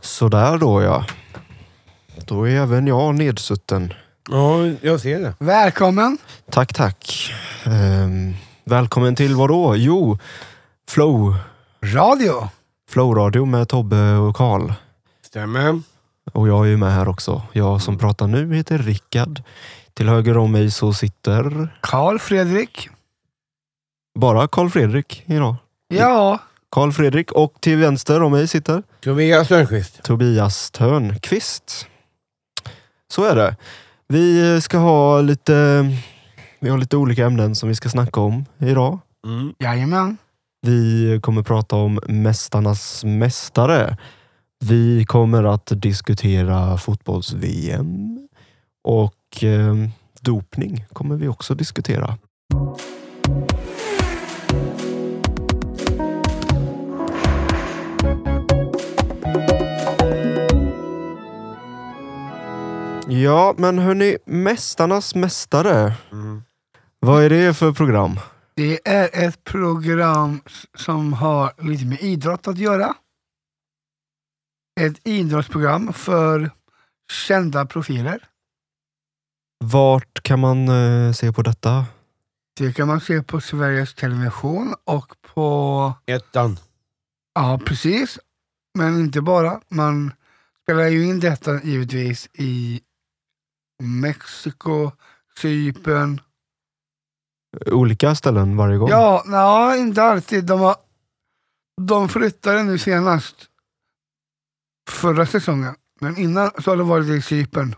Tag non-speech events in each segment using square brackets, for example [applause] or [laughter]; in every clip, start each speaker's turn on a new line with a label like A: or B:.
A: Sådär då ja. Då är även jag nedsutten.
B: Ja, jag ser det.
C: Välkommen!
A: Tack, tack. Ehm, välkommen till vad då? Jo, Flow.
C: Radio!
A: Flow-radio med Tobbe och Karl.
B: Stämmer.
A: Och jag är ju med här också. Jag som pratar nu heter Rickard. Till höger om mig så sitter
C: Karl Fredrik.
A: bara Karl Fredrik idag.
C: Ja,
A: Karl Fredrik och till vänster om mig sitter
B: Tobias Törnqvist.
A: Tobias Törnqvist. Så är det. Vi ska ha lite, vi har lite olika ämnen som vi ska snacka om idag.
B: Mm.
C: jajamän.
A: Vi kommer prata om Mästarnas mästare. Vi kommer att diskutera fotbolls-VM och eh, dopning kommer vi också diskutera. Ja, men hörni, Mästarnas mästare.
B: Mm.
A: Vad är det för program?
C: Det är ett program s- som har lite med idrott att göra. Ett idrottsprogram för kända profiler.
A: Vart kan man eh, se på detta?
C: Det kan man se på Sveriges Television och på,
B: Ettan.
C: ja precis, men inte bara. Man spelar ju in detta givetvis i Mexiko, Cypern,
A: Olika ställen varje gång?
C: Ja, nej, inte alltid. De, har, de flyttade nu senast förra säsongen. Men innan så har det varit i Cypern.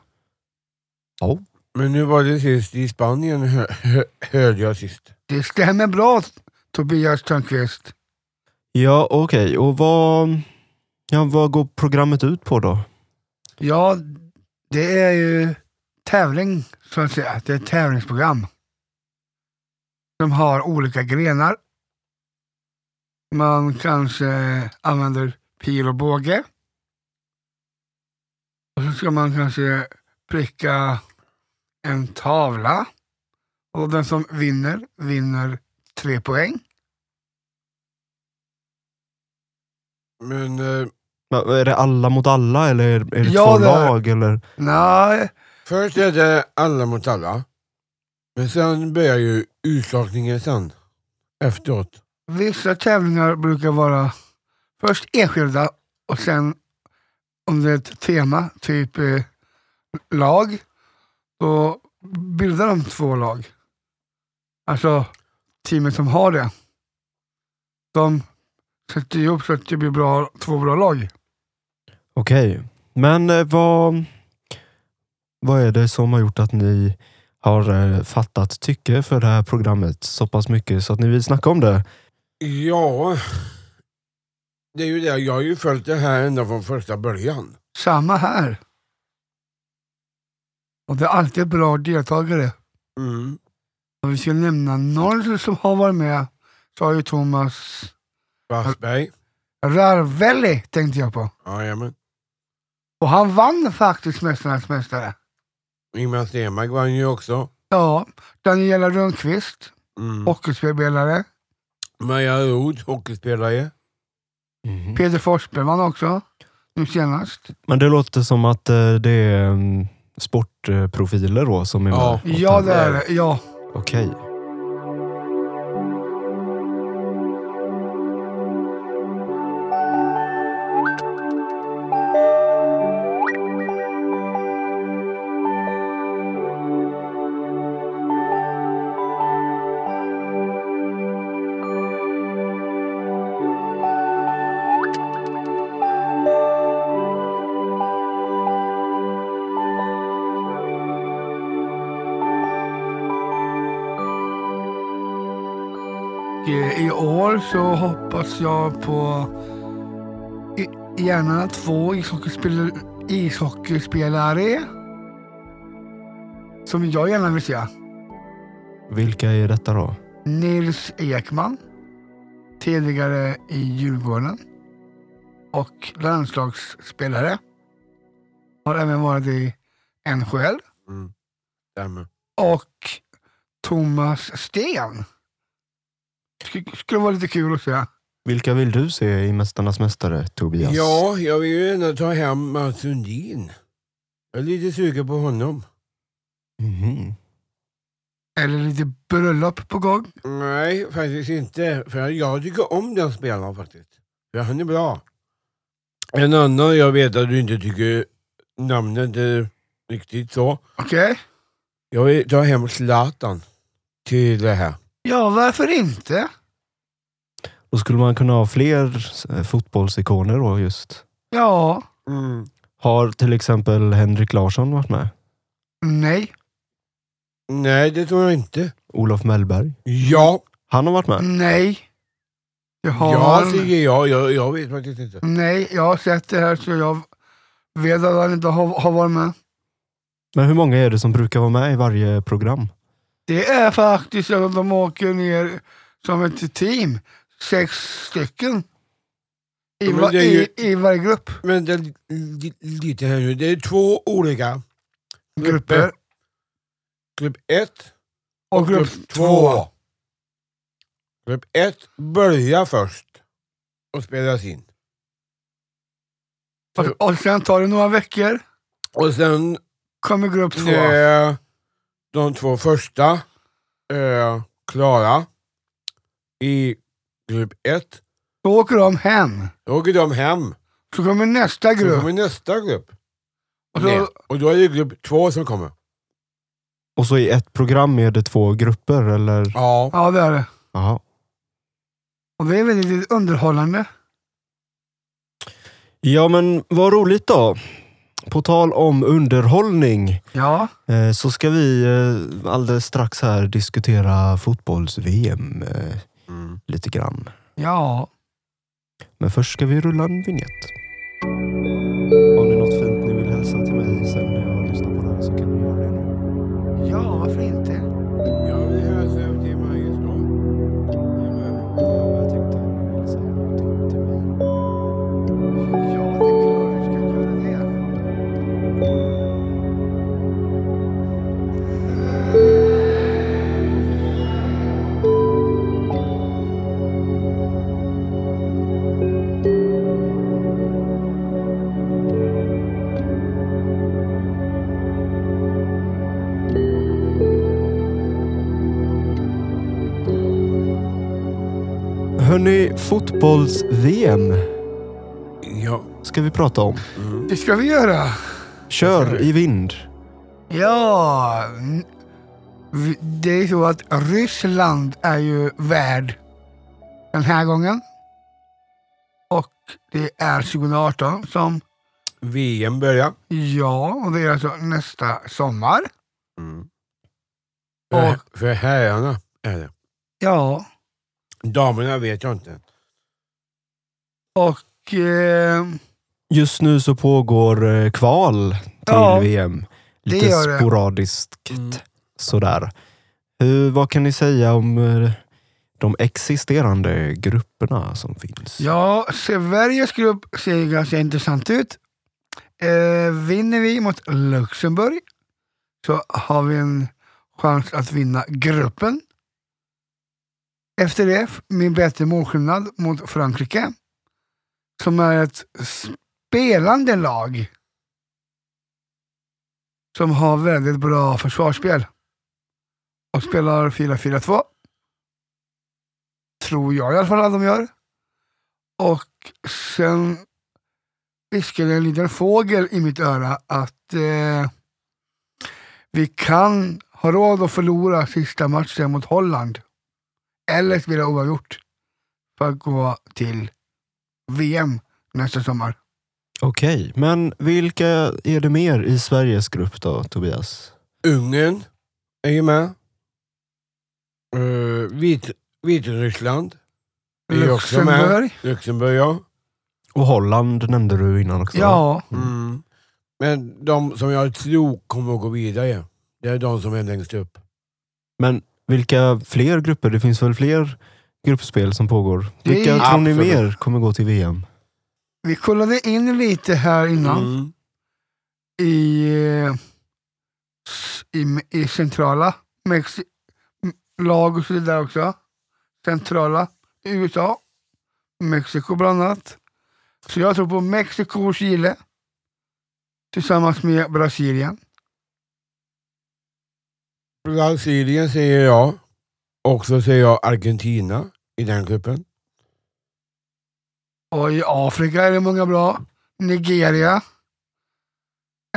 B: Men nu var det sist i Spanien, hö- hö- hörde jag sist.
C: Det stämmer bra Tobias Törnqvist.
A: Ja, okej. Och vad, ja, vad går programmet ut på då?
C: Ja, det är ju tävling så att säga. Det är ett tävlingsprogram. De har olika grenar. Man kanske använder pil och båge. Och så ska man kanske pricka en tavla. Och den som vinner, vinner tre poäng.
B: Men eh,
A: Men Är det alla mot alla eller är det
C: Ja,
A: två
C: det är-
A: lag? Eller?
C: Nej,
B: först är det alla mot alla. Men sen börjar ju utslagningen sen. Efteråt.
C: Vissa tävlingar brukar vara först enskilda och sen om det är ett tema, typ eh, lag, då bildar de två lag. Alltså teamet som har det. De sätter ihop så att det blir bra, två bra lag.
A: Okej. Men eh, vad, vad är det som har gjort att ni har eh, fattat tycke för det här programmet så pass mycket så att ni vill snacka om det?
B: Ja, det är ju det. Jag har ju följt det här ända från första början.
C: Samma här. Och det är alltid bra deltagare.
B: Mm.
C: Om vi ska nämna någon som har varit med så har ju Thomas
B: Wassberg.
C: Ravelli tänkte jag på.
B: Jajamän.
C: Och han vann faktiskt Mästarnas mästare.
B: Ingemar Stenmark vann ju också.
C: Ja, Daniela Rönnqvist,
B: Mm.
C: hockeyspelare.
B: Maja Roth, hockeyspelare.
C: Peter Forsberg vann också, nu senast.
A: Men det låter som att eh, det är mm, sportprofiler då som är
B: Ja.
A: med? åt
C: Ja,
A: det-
C: det är det. Ja.
A: Okej.
C: Och, eh, I år så hoppas jag på i- gärna två ishockeyspel, ishockeyspelare. Som jag gärna vill se.
A: Vilka är detta då?
C: Nils Ekman, tidigare i Djurgården och landslagsspelare. Har även varit i NHL.
B: Mm. Stämmer.
C: Och Thomas Sten. Sk- skulle vara lite kul att se.
A: Vilka vill du se i Mästarnas Mästare, Tobias?
B: Ja, jag vill ju ändå ta hem Mats Sundin. Jag är lite sugen på honom.
A: Mhm.
C: Eller lite bröllop på gång.
B: Nej, faktiskt inte. För jag tycker om den spelaren faktiskt. För han är bra. En annan jag vet att du inte tycker namnet är riktigt så.
C: Okej?
B: Jag vill ta hem Zlatan till det här.
C: Ja, varför inte?
A: Då skulle man kunna ha fler eh, fotbollsikoner då just.
C: Ja,
B: Mm.
A: Har till exempel Henrik Larsson varit med?
C: nej,
B: Nej, det tror jag inte.
A: Olof Mellberg?
B: Ja,
A: Han har varit
C: Mm.
A: med?
C: nej. Jag har...
B: ja säger jag. jag. Jag vet faktiskt inte.
C: Nej, jag har sett det här så jag vet att han inte har, har varit med.
A: Men hur många är det som brukar vara med i varje program?
C: Det är faktiskt att de åker ner som ett team. Sex stycken. I,
B: Ja, men
C: va,
B: det är ju-
C: i, i varje grupp.
B: Men det, li- lite här nu. Det är två olika.
C: Grupper.
B: Grupp ett
C: Och grupp två.
B: Grupp ett börjar först och spelas in.
C: Och, och sen tar det några veckor.
B: Och sen
C: Kommer grupp två.
B: eh, de två första eh, klara i grupp ett.
C: Då åker de hem.
B: Då åker de hem.
C: Så kommer nästa
B: Sen
C: grupp.
B: kommer nästa grupp.
C: Och
B: ner.
C: så,
B: Och då är det grupp två som kommer.
A: Och så i ett program är det två grupper eller?
B: Ja.
C: ja, det är det.
A: Jaha.
C: Och det är väldigt underhållande.
A: Ja men vad roligt då. På tal om underhållning.
C: Ja.
A: Eh, Så ska vi eh, alldeles strax här diskutera fotbolls-VM eh,
B: Mm.
A: lite grann.
C: Ja.
A: Men först ska vi rulla en vignett. Har ni något fint ni vill hälsa till mig sen när jag lyssnar på det här så kan ni göra det nu.
C: Ja, varför inte?
B: Jag vill hälsa till Margit Ståhl.
A: Jag tänkte att ni ville säga någonting till mig.
C: Ja, det är klart du ska göra det.
A: Hörni, fotbolls-VM
B: Ja.
A: ska vi prata om.
B: Mm.
C: Det ska vi göra.
A: Kör i vind.
C: Ja, n- vi- det är så att Ryssland är ju värd den här gången. Och det är 2018 som,
B: VM börjar.
C: ja, och det är alltså nästa sommar.
B: Mm. För, för herrarna är det.
C: Ja,
B: Damerna vet jag inte.
C: och eh,
A: Just nu så pågår eh, kval till
C: Ja,
A: VM. Lite
C: gör det.
A: sporadiskt
B: Mm.
A: sådär. Hur, vad kan ni säga om eh, de existerande grupperna som finns?
C: ja, Sveriges grupp ser ganska intressant ut. Eh, vinner vi mot Luxemburg så har vi en chans att vinna gruppen. Efter det, med bättre målskillnad mot Frankrike, som är ett spelande lag som har väldigt bra försvarsspel och spelar 4-4-2. Tror jag i alla fall att de gör. Och sen viskade en liten fågel i mitt öra att eh, vi kan ha råd att förlora sista matchen mot Holland. Eller spela oavgjort för att gå till VM nästa sommar.
A: Okej, men vilka är det mer i Sveriges grupp då, Tobias?
B: Ungern är ju med. Eh, Vit, Vitryssland. är ju också med.
C: Luxemburg.
B: Luxemburg ja.
A: Och Holland nämnde du innan också.
C: Ja,
A: Mm.
B: Mm. Men de som jag tror kommer att gå vidare, det är de som är längst upp.
A: Men vilka fler grupper? Det finns väl fler gruppspel som pågår?
C: Det är-
A: Vilka tror ni
B: Absolut.
A: mer kommer gå till VM?
C: vi kollade in lite här innan
B: Mm.
C: i, eh, s- i, i centrala Mexi m- lag och så vidare också. Centrala USA. Mexiko bland annat. Så jag tror på Mexiko och Chile. Tillsammans med Brasilien.
B: Brasilien säger jag. Och så säger jag Argentina i den gruppen.
C: Och i Afrika är det många bra. Nigeria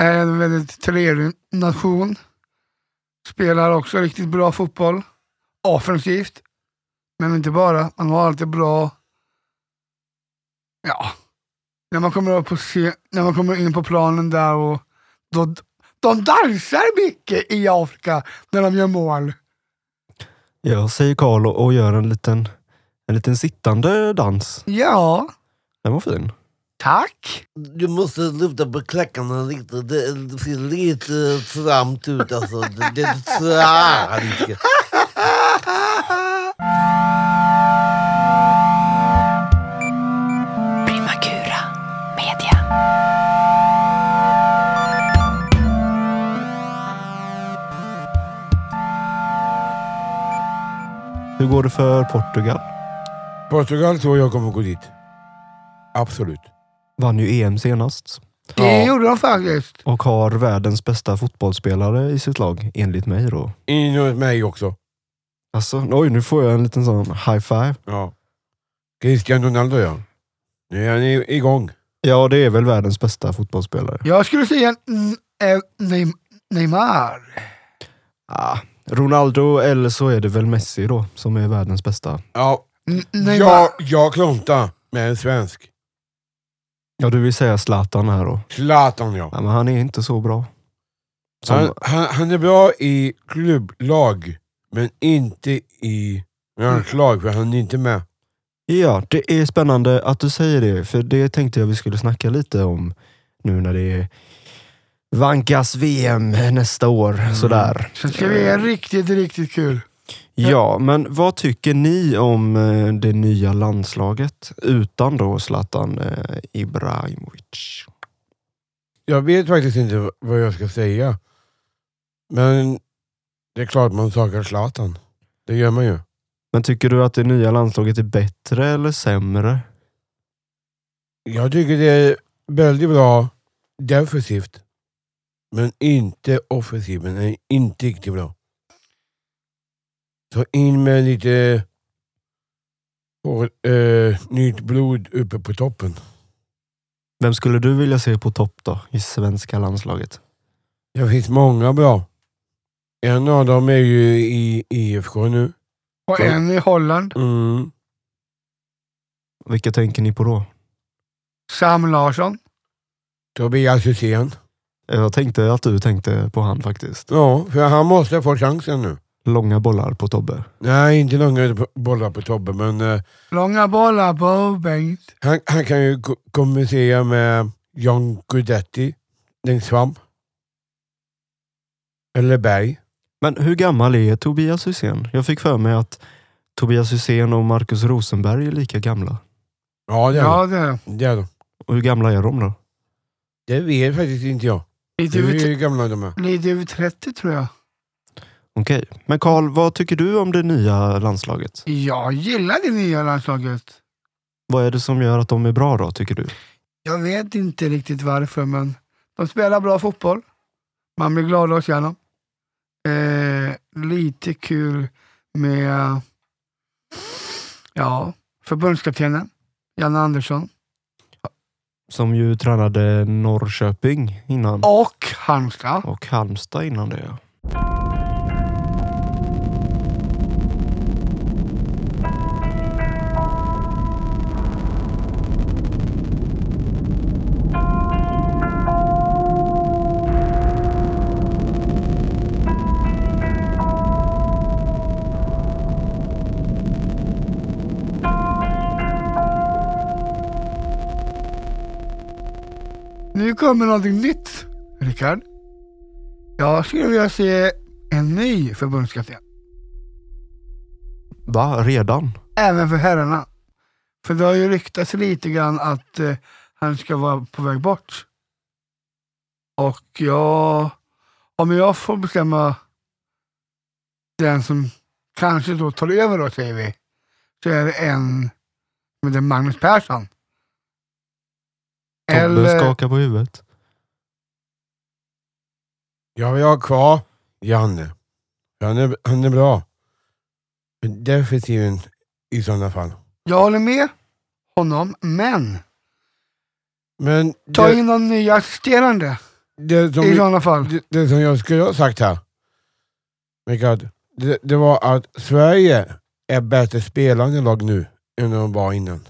C: är en väldigt trevlig nation. Spelar också riktigt bra fotboll. Offensivt. Men inte bara. Man har alltid bra... Ja. När man kommer, upp på se, när man kommer in på planen där och... Då, de dansar mycket i Afrika när de gör mål.
A: Jag säger Karl och, och gör en liten, en liten sittande dans.
C: Ja,
A: Den var fin.
C: tack.
D: Du måste lyfta på klackarna lite. Det, det ser lite tramt ut alltså. Det, det trär lite.
E: Primacura Media.
A: Hur går det för Portugal?
B: Portugal tror jag kommer gå dit. Absolut.
A: Vann ju EM senast
C: Det
B: Ja.
C: gjorde de faktiskt.
A: och har världens bästa fotbollsspelare i sitt lag, enligt mig då.
B: Inom mig också.
A: Alltså, oj, nu får jag en liten sån high five.
B: Ja. Cristiano Ronaldo ja. Nu är han i- igång.
A: Ja, det är väl världens bästa fotbollsspelare.
C: Jag skulle säga mm, eh, Neym- Neymar.
A: Ah, Ronaldo eller så är det väl Messi då, som är världens bästa.
B: Ja,
C: N- Neymar.
B: jag, jag klontar med en svensk.
A: Ja, du vill säga Zlatan här då.
B: Zlatan ja.
A: Ja, men han är inte så bra. Som,
B: Han, han, han är bra i klubblag, men inte i
D: Mm.
B: landslag för han är inte med.
A: Ja, det är spännande att du säger det, för det tänkte jag vi skulle snacka lite om nu när det är Vankas VM nästa år. Sådär.
C: Så ska vi göra riktigt, riktigt kul.
A: Ja, men vad tycker ni om eh, det nya landslaget utan då Zlatan eh, Ibrahimovic?
B: Jag vet faktiskt inte vad jag ska säga. Men det är klart man saknar Zlatan. Det gör man ju.
A: Men tycker du att det nya landslaget är bättre eller sämre?
B: Jag tycker det är väldigt bra defensivt. Men inte offensiven är inte riktigt bra. Så in med lite och, eh, nytt blod uppe på toppen.
A: Vem skulle du vilja se på topp då i svenska landslaget?
B: Det finns många bra. En av dem är ju i IFK nu.
C: Och
B: Ja.
C: en i Holland,
B: Mm.
A: Vilka tänker ni på då?
C: Sam Larsson.
B: Tobias Hysén.
A: Jag tänkte att du tänkte på han faktiskt.
B: Ja, för han måste få chansen nu.
A: Långa bollar på Tobbe.
B: Nej, inte långa bo- bollar på Tobbe, men eh,
C: Långa bollar på Bengt.
B: han, han kan ju ko- kommunicera med John Guidetti längs fram. Eller Berg.
A: Men hur gammal är Tobias Hysén? Jag fick för mig att Tobias Hysén och Markus Rosenberg är lika gamla.
B: Ja, det är
C: Ja,
B: ja.
C: det är de.
B: Det, är de.
A: Och hur gamla är de då?
B: det vet faktiskt inte jag.
C: Lite
B: Du är
C: över, t-
B: ju gamla de är.
C: lite över 30 tror jag.
A: Okej. Men Karl, vad tycker du om det nya landslaget?
C: Jag gillar det nya landslaget.
A: Vad är det som gör att de är bra då, tycker du?
C: Jag vet inte riktigt varför, men de spelar bra fotboll. Man blir glad att se dem. Eh, lite kul med ja, förbundskaptenen Janne Andersson
A: Som ju tränade Norrköping innan.
C: och Halmstad.
A: Och Halmstad innan det. ja.
C: Nu kommer någonting nytt, Rickard. Jag skulle vilja se en ny förbundskapten,
A: Va? Redan?
C: även för herrarna. För det har ju ryktats lite grann att eh, han ska vara på väg bort. Och jag, om jag får bestämma den som kanske då tar över då, säger vi, så är det en med det Magnus Persson.
A: Tobbe
C: Eller
A: skakar på huvudet.
B: Jag vill ha kvar Janne. Han är, han är bra. Men Defensiven i sådana fall.
C: jag håller med honom, men
B: Men
C: ta
B: det,
C: in någon ny assisterande
B: det, som,
C: i
B: vi-
C: sådana fall.
B: det, det som jag skulle ha sagt här, Rickard, det, det var att Sverige är bättre spelande lag nu än de var innan.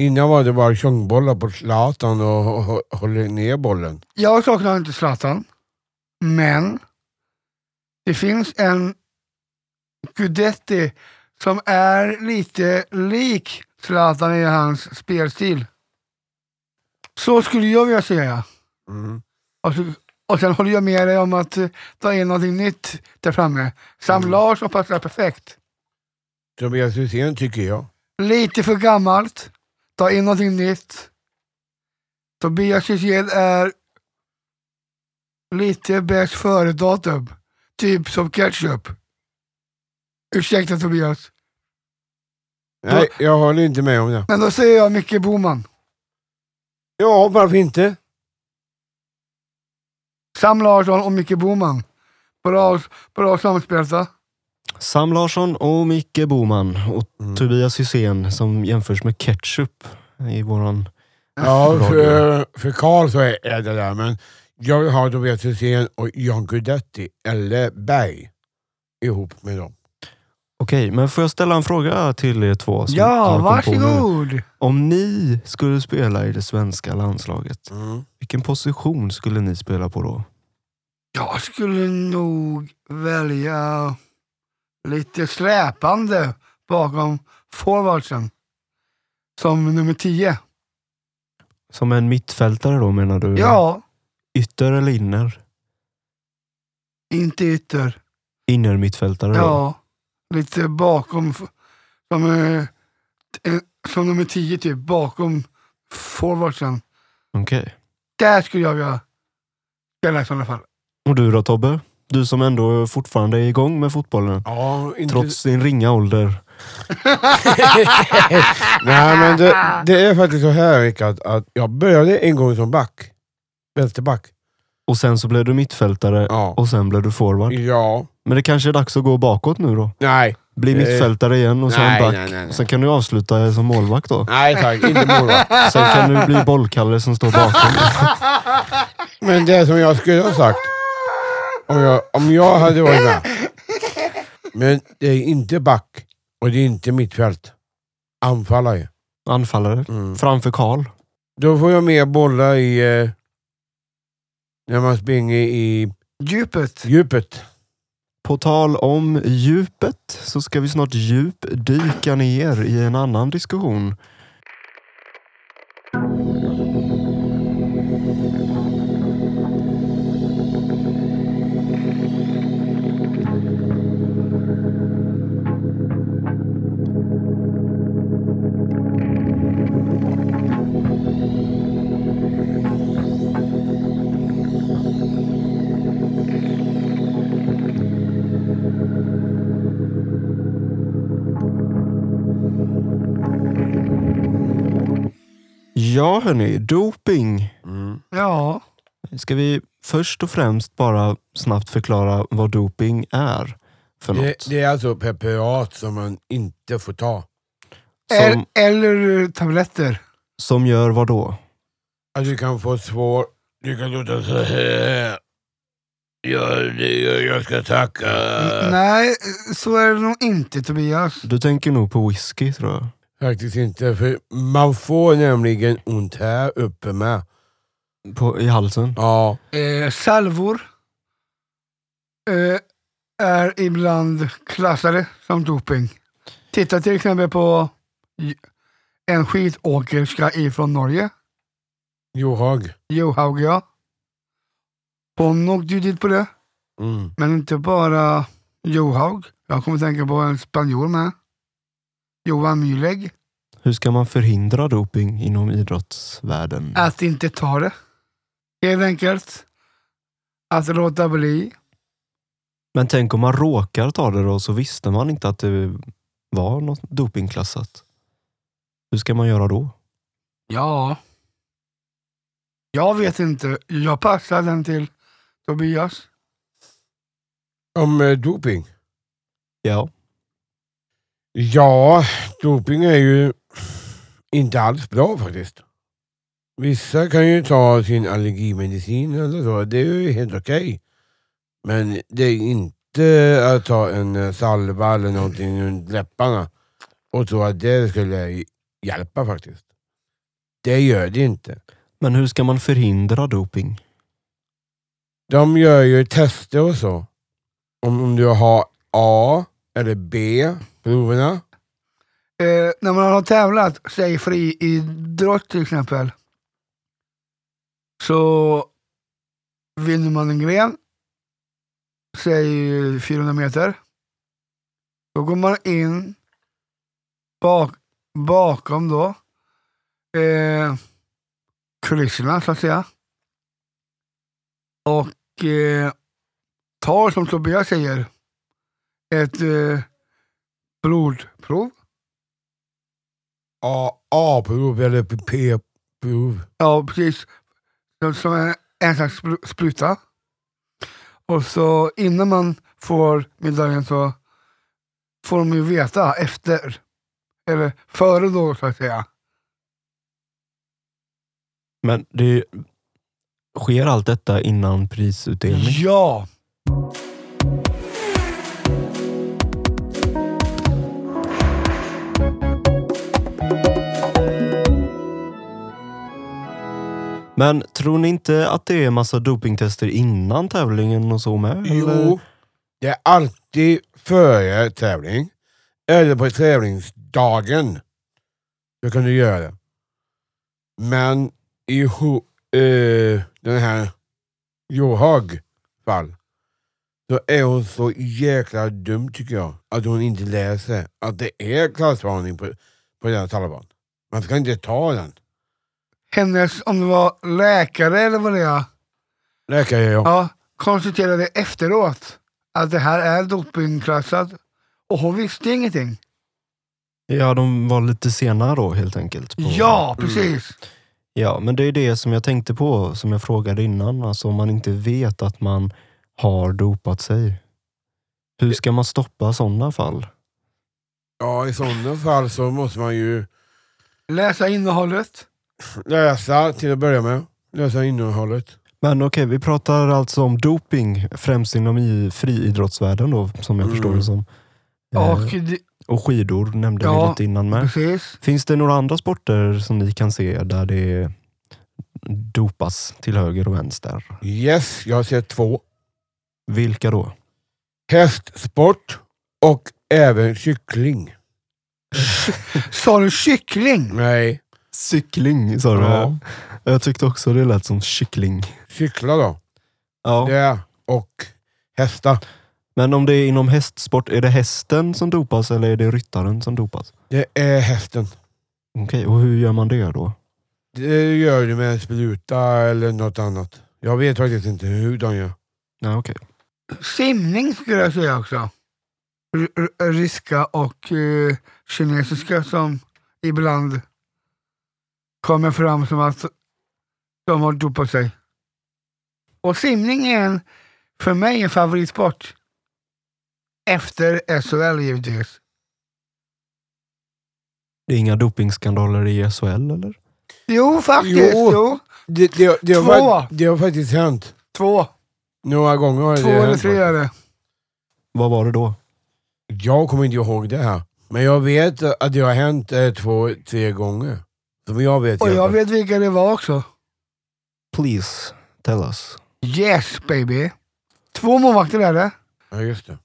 B: Innan var det bara tjongbollar på Zlatan och, och, och håller ner bollen.
C: Jag saknar inte Zlatan, men det finns en Gudetti som är lite lik Zlatan i hans spelstil. Så skulle jag vilja säga. Och, så, och sen håller jag med dig om att eh, ta in någonting nytt där framme. Sam Larsson passar perfekt.
B: Tobias Hysén tycker jag.
C: Lite för gammalt. Ta in någonting nytt. Tobias Hysén är lite bäst före-datum. Typ som ketchup. Ursäkta Tobias.
B: Nej, jag håller inte med om det.
C: Men då säger jag Micke Boman.
B: Ja, varför inte?
C: Sam Larsson och Micke Boman. Bra, bra samspelta.
A: Sam Larsson och Micke Boman och
B: Mm.
A: Tobias Hysén som jämförs med ketchup i våran...
B: Ja,
A: Bra
B: för, för Karl så är är det där, men jag vill ha Tobias Hysén och John Guidetti, eller Berg, ihop med dem.
A: Okej, men får jag ställa en fråga till er två? som
C: Ja,
A: jag kom på nu?
C: varsågod.
A: Om ni skulle spela i det svenska landslaget,
B: Mm.
A: vilken position skulle ni spela på då?
C: Jag skulle nog välja lite släpande bakom forwardsen. Som nummer
A: Mm.
C: 10.
A: Som en mittfältare då menar du?
C: Ja,
A: Ytter eller inner?
C: inte ytter.
A: Inner mittfältare då?
C: Ja, lite bakom. f- Som, eh, t- eh, som nummer 10 typ, bakom forwardsen.
A: Okej.
C: Där skulle jag vilja spela i sådana fall.
A: Och du då Tobbe? Du som ändå fortfarande är igång med fotbollen.
B: Ja, inte...
A: Trots din ringa ålder.
B: Nej, men det, det är faktiskt så här Rickard, att jag började en gång som back. Vänsterback.
A: Och sen så blev du mittfältare
B: Ja.
A: och sen blev du forward.
B: Ja.
A: Men det kanske är dags att gå bakåt nu då?
B: Nej.
A: Bli
B: Eh,
A: mittfältare igen och sen
B: nej,
A: back.
B: nej, nej, nej.
A: Sen kan du avsluta som målvakt då.
B: Nej tack, inte målvakt.
A: Sen kan
C: [laughs]
A: du bli bollkalle som står bakom.
B: [laughs] Men det som jag skulle ha sagt, om jag, om jag hade varit med. Men det är inte back och det är inte mittfält. Anfallare.
A: Anfallare.
B: Mm.
A: Framför Karl.
B: Då får jag mer bollar i... Eh, när man springer i
C: Djupet.
B: djupet.
A: På tal om djupet så ska vi snart djupdyka ner i en annan diskussion. Ja hörni, doping.
B: Mm.
C: Ja,
A: Ska vi först och främst bara snabbt förklara vad doping är för
B: Det,
A: något?
B: det är alltså preparat som man inte får ta.
A: Som,
C: El- eller tabletter.
A: som gör vad då?
B: Att Alltså, du kan få svår... Du kan låta så här. Jag, jag, jag ska tacka. Eh.
C: Nej, så är det nog inte Tobias.
A: Du tänker nog på whisky tror jag.
B: Faktiskt inte, för man får nämligen ont här uppe med.
A: På, I halsen.
B: Ja,
C: Eh, salvor eh, är ibland klassade som doping. Titta till exempel på j- en skidåkerska ifrån Norge,
B: Johag.
C: Johaug ja. Hon åkte ju dit på det,
B: Mm.
C: men inte bara Johaug. Jag kommer tänka på en spanjor med. Johan Myleg.
A: Hur ska man förhindra doping inom idrottsvärlden?
C: Att inte ta det. Helt enkelt. Att låta bli.
A: Men tänk om man råkar ta det då så visste man inte att det var något dopingklassat. Hur ska man göra då?
C: Ja. Jag vet inte. Jag passar den till Tobias.
F: Om eh, doping?
A: Ja.
F: Ja, doping är ju inte alls bra faktiskt. Vissa kan ju ta sin allergimedicin eller så, det är ju helt okej. Men det är inte att ta en eh, salva eller någonting runt läpparna och tro att det skulle hjälpa faktiskt. Det gör det inte.
A: Men hur ska man förhindra doping?
F: De gör ju tester och så. Om, om du har A eller B proverna.
C: Eh, när man har tävlat, säg friidrott till exempel, så vinner man en gren, säg 400 meter. Då går man in bak, bakom då eh, kulisserna så att säga. Och eh, tar som Tobias säger ett eh, blodprov.
F: A- A-prov eller P-prov.
C: Ja, precis. Som- Som en, en slags spru- spruta. Och så innan man får medaljen så får de ju veta efter. Eller före då, så att säga.
A: Men det sker allt detta innan prisutdelning?
C: Ja!
A: Men tror ni inte att det är massa dopingtester innan tävlingen och så med?
F: Jo,
A: eller?
F: det är alltid före tävling. Eller på tävlingsdagen. Då kan du göra det. Men i ho- eh, den här Johag fall, så är hon så jäkla dum tycker jag. Att hon inte läser att det är klassvarning på, på den här taliban. Man ska inte ta den.
C: Hennes, om det var läkare eller vad det är,
F: Läkare är jag.
C: ja, konstaterade efteråt att det här är dopingklassat. Och hon visste ingenting.
A: Ja, de var lite sena då helt enkelt. på-
C: Ja, precis.
A: ja! Men det är det som jag tänkte på, som jag frågade innan. Alltså om man inte vet att man har dopat sig. Hur ska man stoppa sådana fall?
F: Ja, i sådana fall så måste man ju
C: Läsa innehållet.
F: läsa till att börja med. Läsa innehållet.
A: Men okej, vi pratar alltså om doping, främst inom i friidrottsvärlden då, som jag förstår det som.
C: Och,
A: Eh, och skidor nämnde vi
C: ja,
A: lite innan med.
C: precis.
A: Finns det några andra sporter som ni kan se där det dopas till höger och vänster?
F: Yes, jag har sett två.
A: Vilka då?
F: Hästsport och även cykling.
C: Sa du kyckling?
F: Nej,
A: Cykling sa du?
F: Ja.
A: Jag tyckte också det lät som kyckling.
F: cykla då.
A: Ja.
F: Det och hästa.
A: Men om det är inom hästsport, är det hästen som dopas eller är det ryttaren som dopas?
F: Det är hästen.
A: Okej, och hur gör man det då?
F: Det gör du med en spruta eller något annat. Jag vet faktiskt inte hur de gör.
A: Ja, okej.
C: Simning skulle jag säga också. R- r- ryska och eh, kinesiska som ibland kommer fram som att de har dopat sig. Och simning är en, för mig en favoritsport. Efter SHL givetvis.
A: Det är inga dopingskandaler i SHL eller?
C: Jo, faktiskt.
F: Jo.
C: Jo.
F: Det, det, det, har,
C: Två.
F: fakt- det har faktiskt hänt.
C: Två.
F: Några gånger har
C: Två
F: det
C: eller
F: hänt.
C: tre är det.
A: Vad var det då?
F: Jag kommer inte ihåg det här. Men jag vet att det har hänt eh, två, tre gånger. Som jag vet. i
C: Och
F: alla
C: jag
F: fall.
C: vet vilka det var också.
A: Please, tell us.
C: Yes baby. Två målvakter är det.
F: Ja, just det.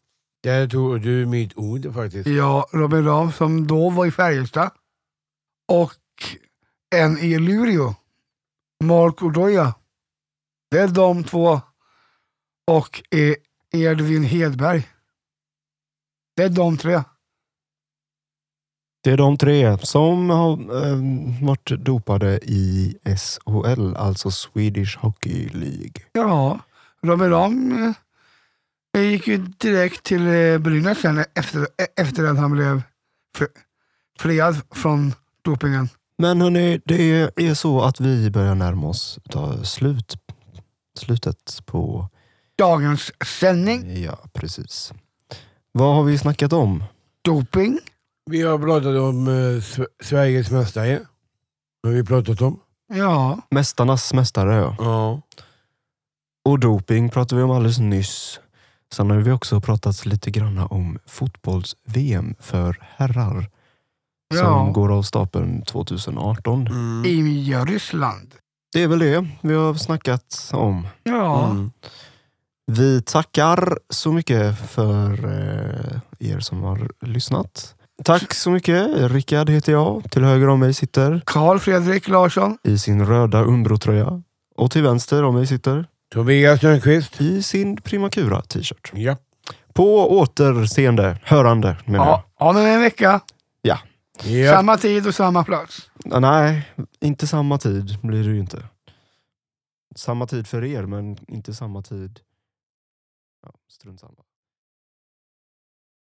F: Där tog du mitt ord faktiskt.
C: Ja, Robin Ram som då var i Färjestad. Och en i Luleå. Mark Odoja. Det är de två. Och eh, Edvin Hedberg. Det är de tre.
A: Det är de tre som har eh, varit dopade i SHL, alltså Swedish Hockey League.
C: Ja, Robin Ram eh, eh, gick ju direkt till eh, Brynäs sen efter, eh, efter att han blev fri- friad från dopingen.
A: Men hörni, det är så att vi börjar närma oss ta slut, slutet på...
C: Dagens sändning,
A: Ja, precis. Vad har vi snackat om?
C: doping.
B: Vi har pratat om eh, Sve- Sveriges mästare. Har vi pratat om.
C: Ja,
A: Mästarnas mästare. ja.
B: Ja.
A: Och doping pratade vi om alldeles nyss. Sen har vi också pratat lite grann om fotbolls-VM för herrar.
C: Ja.
A: Som går av stapeln 2018.
B: Mm.
C: i Ryssland.
A: Det är väl det vi har snackat om.
C: Ja,
B: Mm.
A: Vi tackar så mycket för eh, er som har lyssnat. Tack så mycket. Rickard heter jag. Till höger om mig sitter
C: Karl Fredrik Larsson.
A: i sin röda Umbro-tröja. Och till vänster om mig sitter
B: Tobias Lundqvist.
A: i sin Primakura t-shirt.
B: Ja.
A: På återseende, hörande menar jag.
C: Ja, om en vecka.
B: ja.
C: Samma tid och samma plats.
A: Ah, Nej, inte samma tid blir det ju inte. Samma tid för er, men inte samma tid. Ja, strunt samma.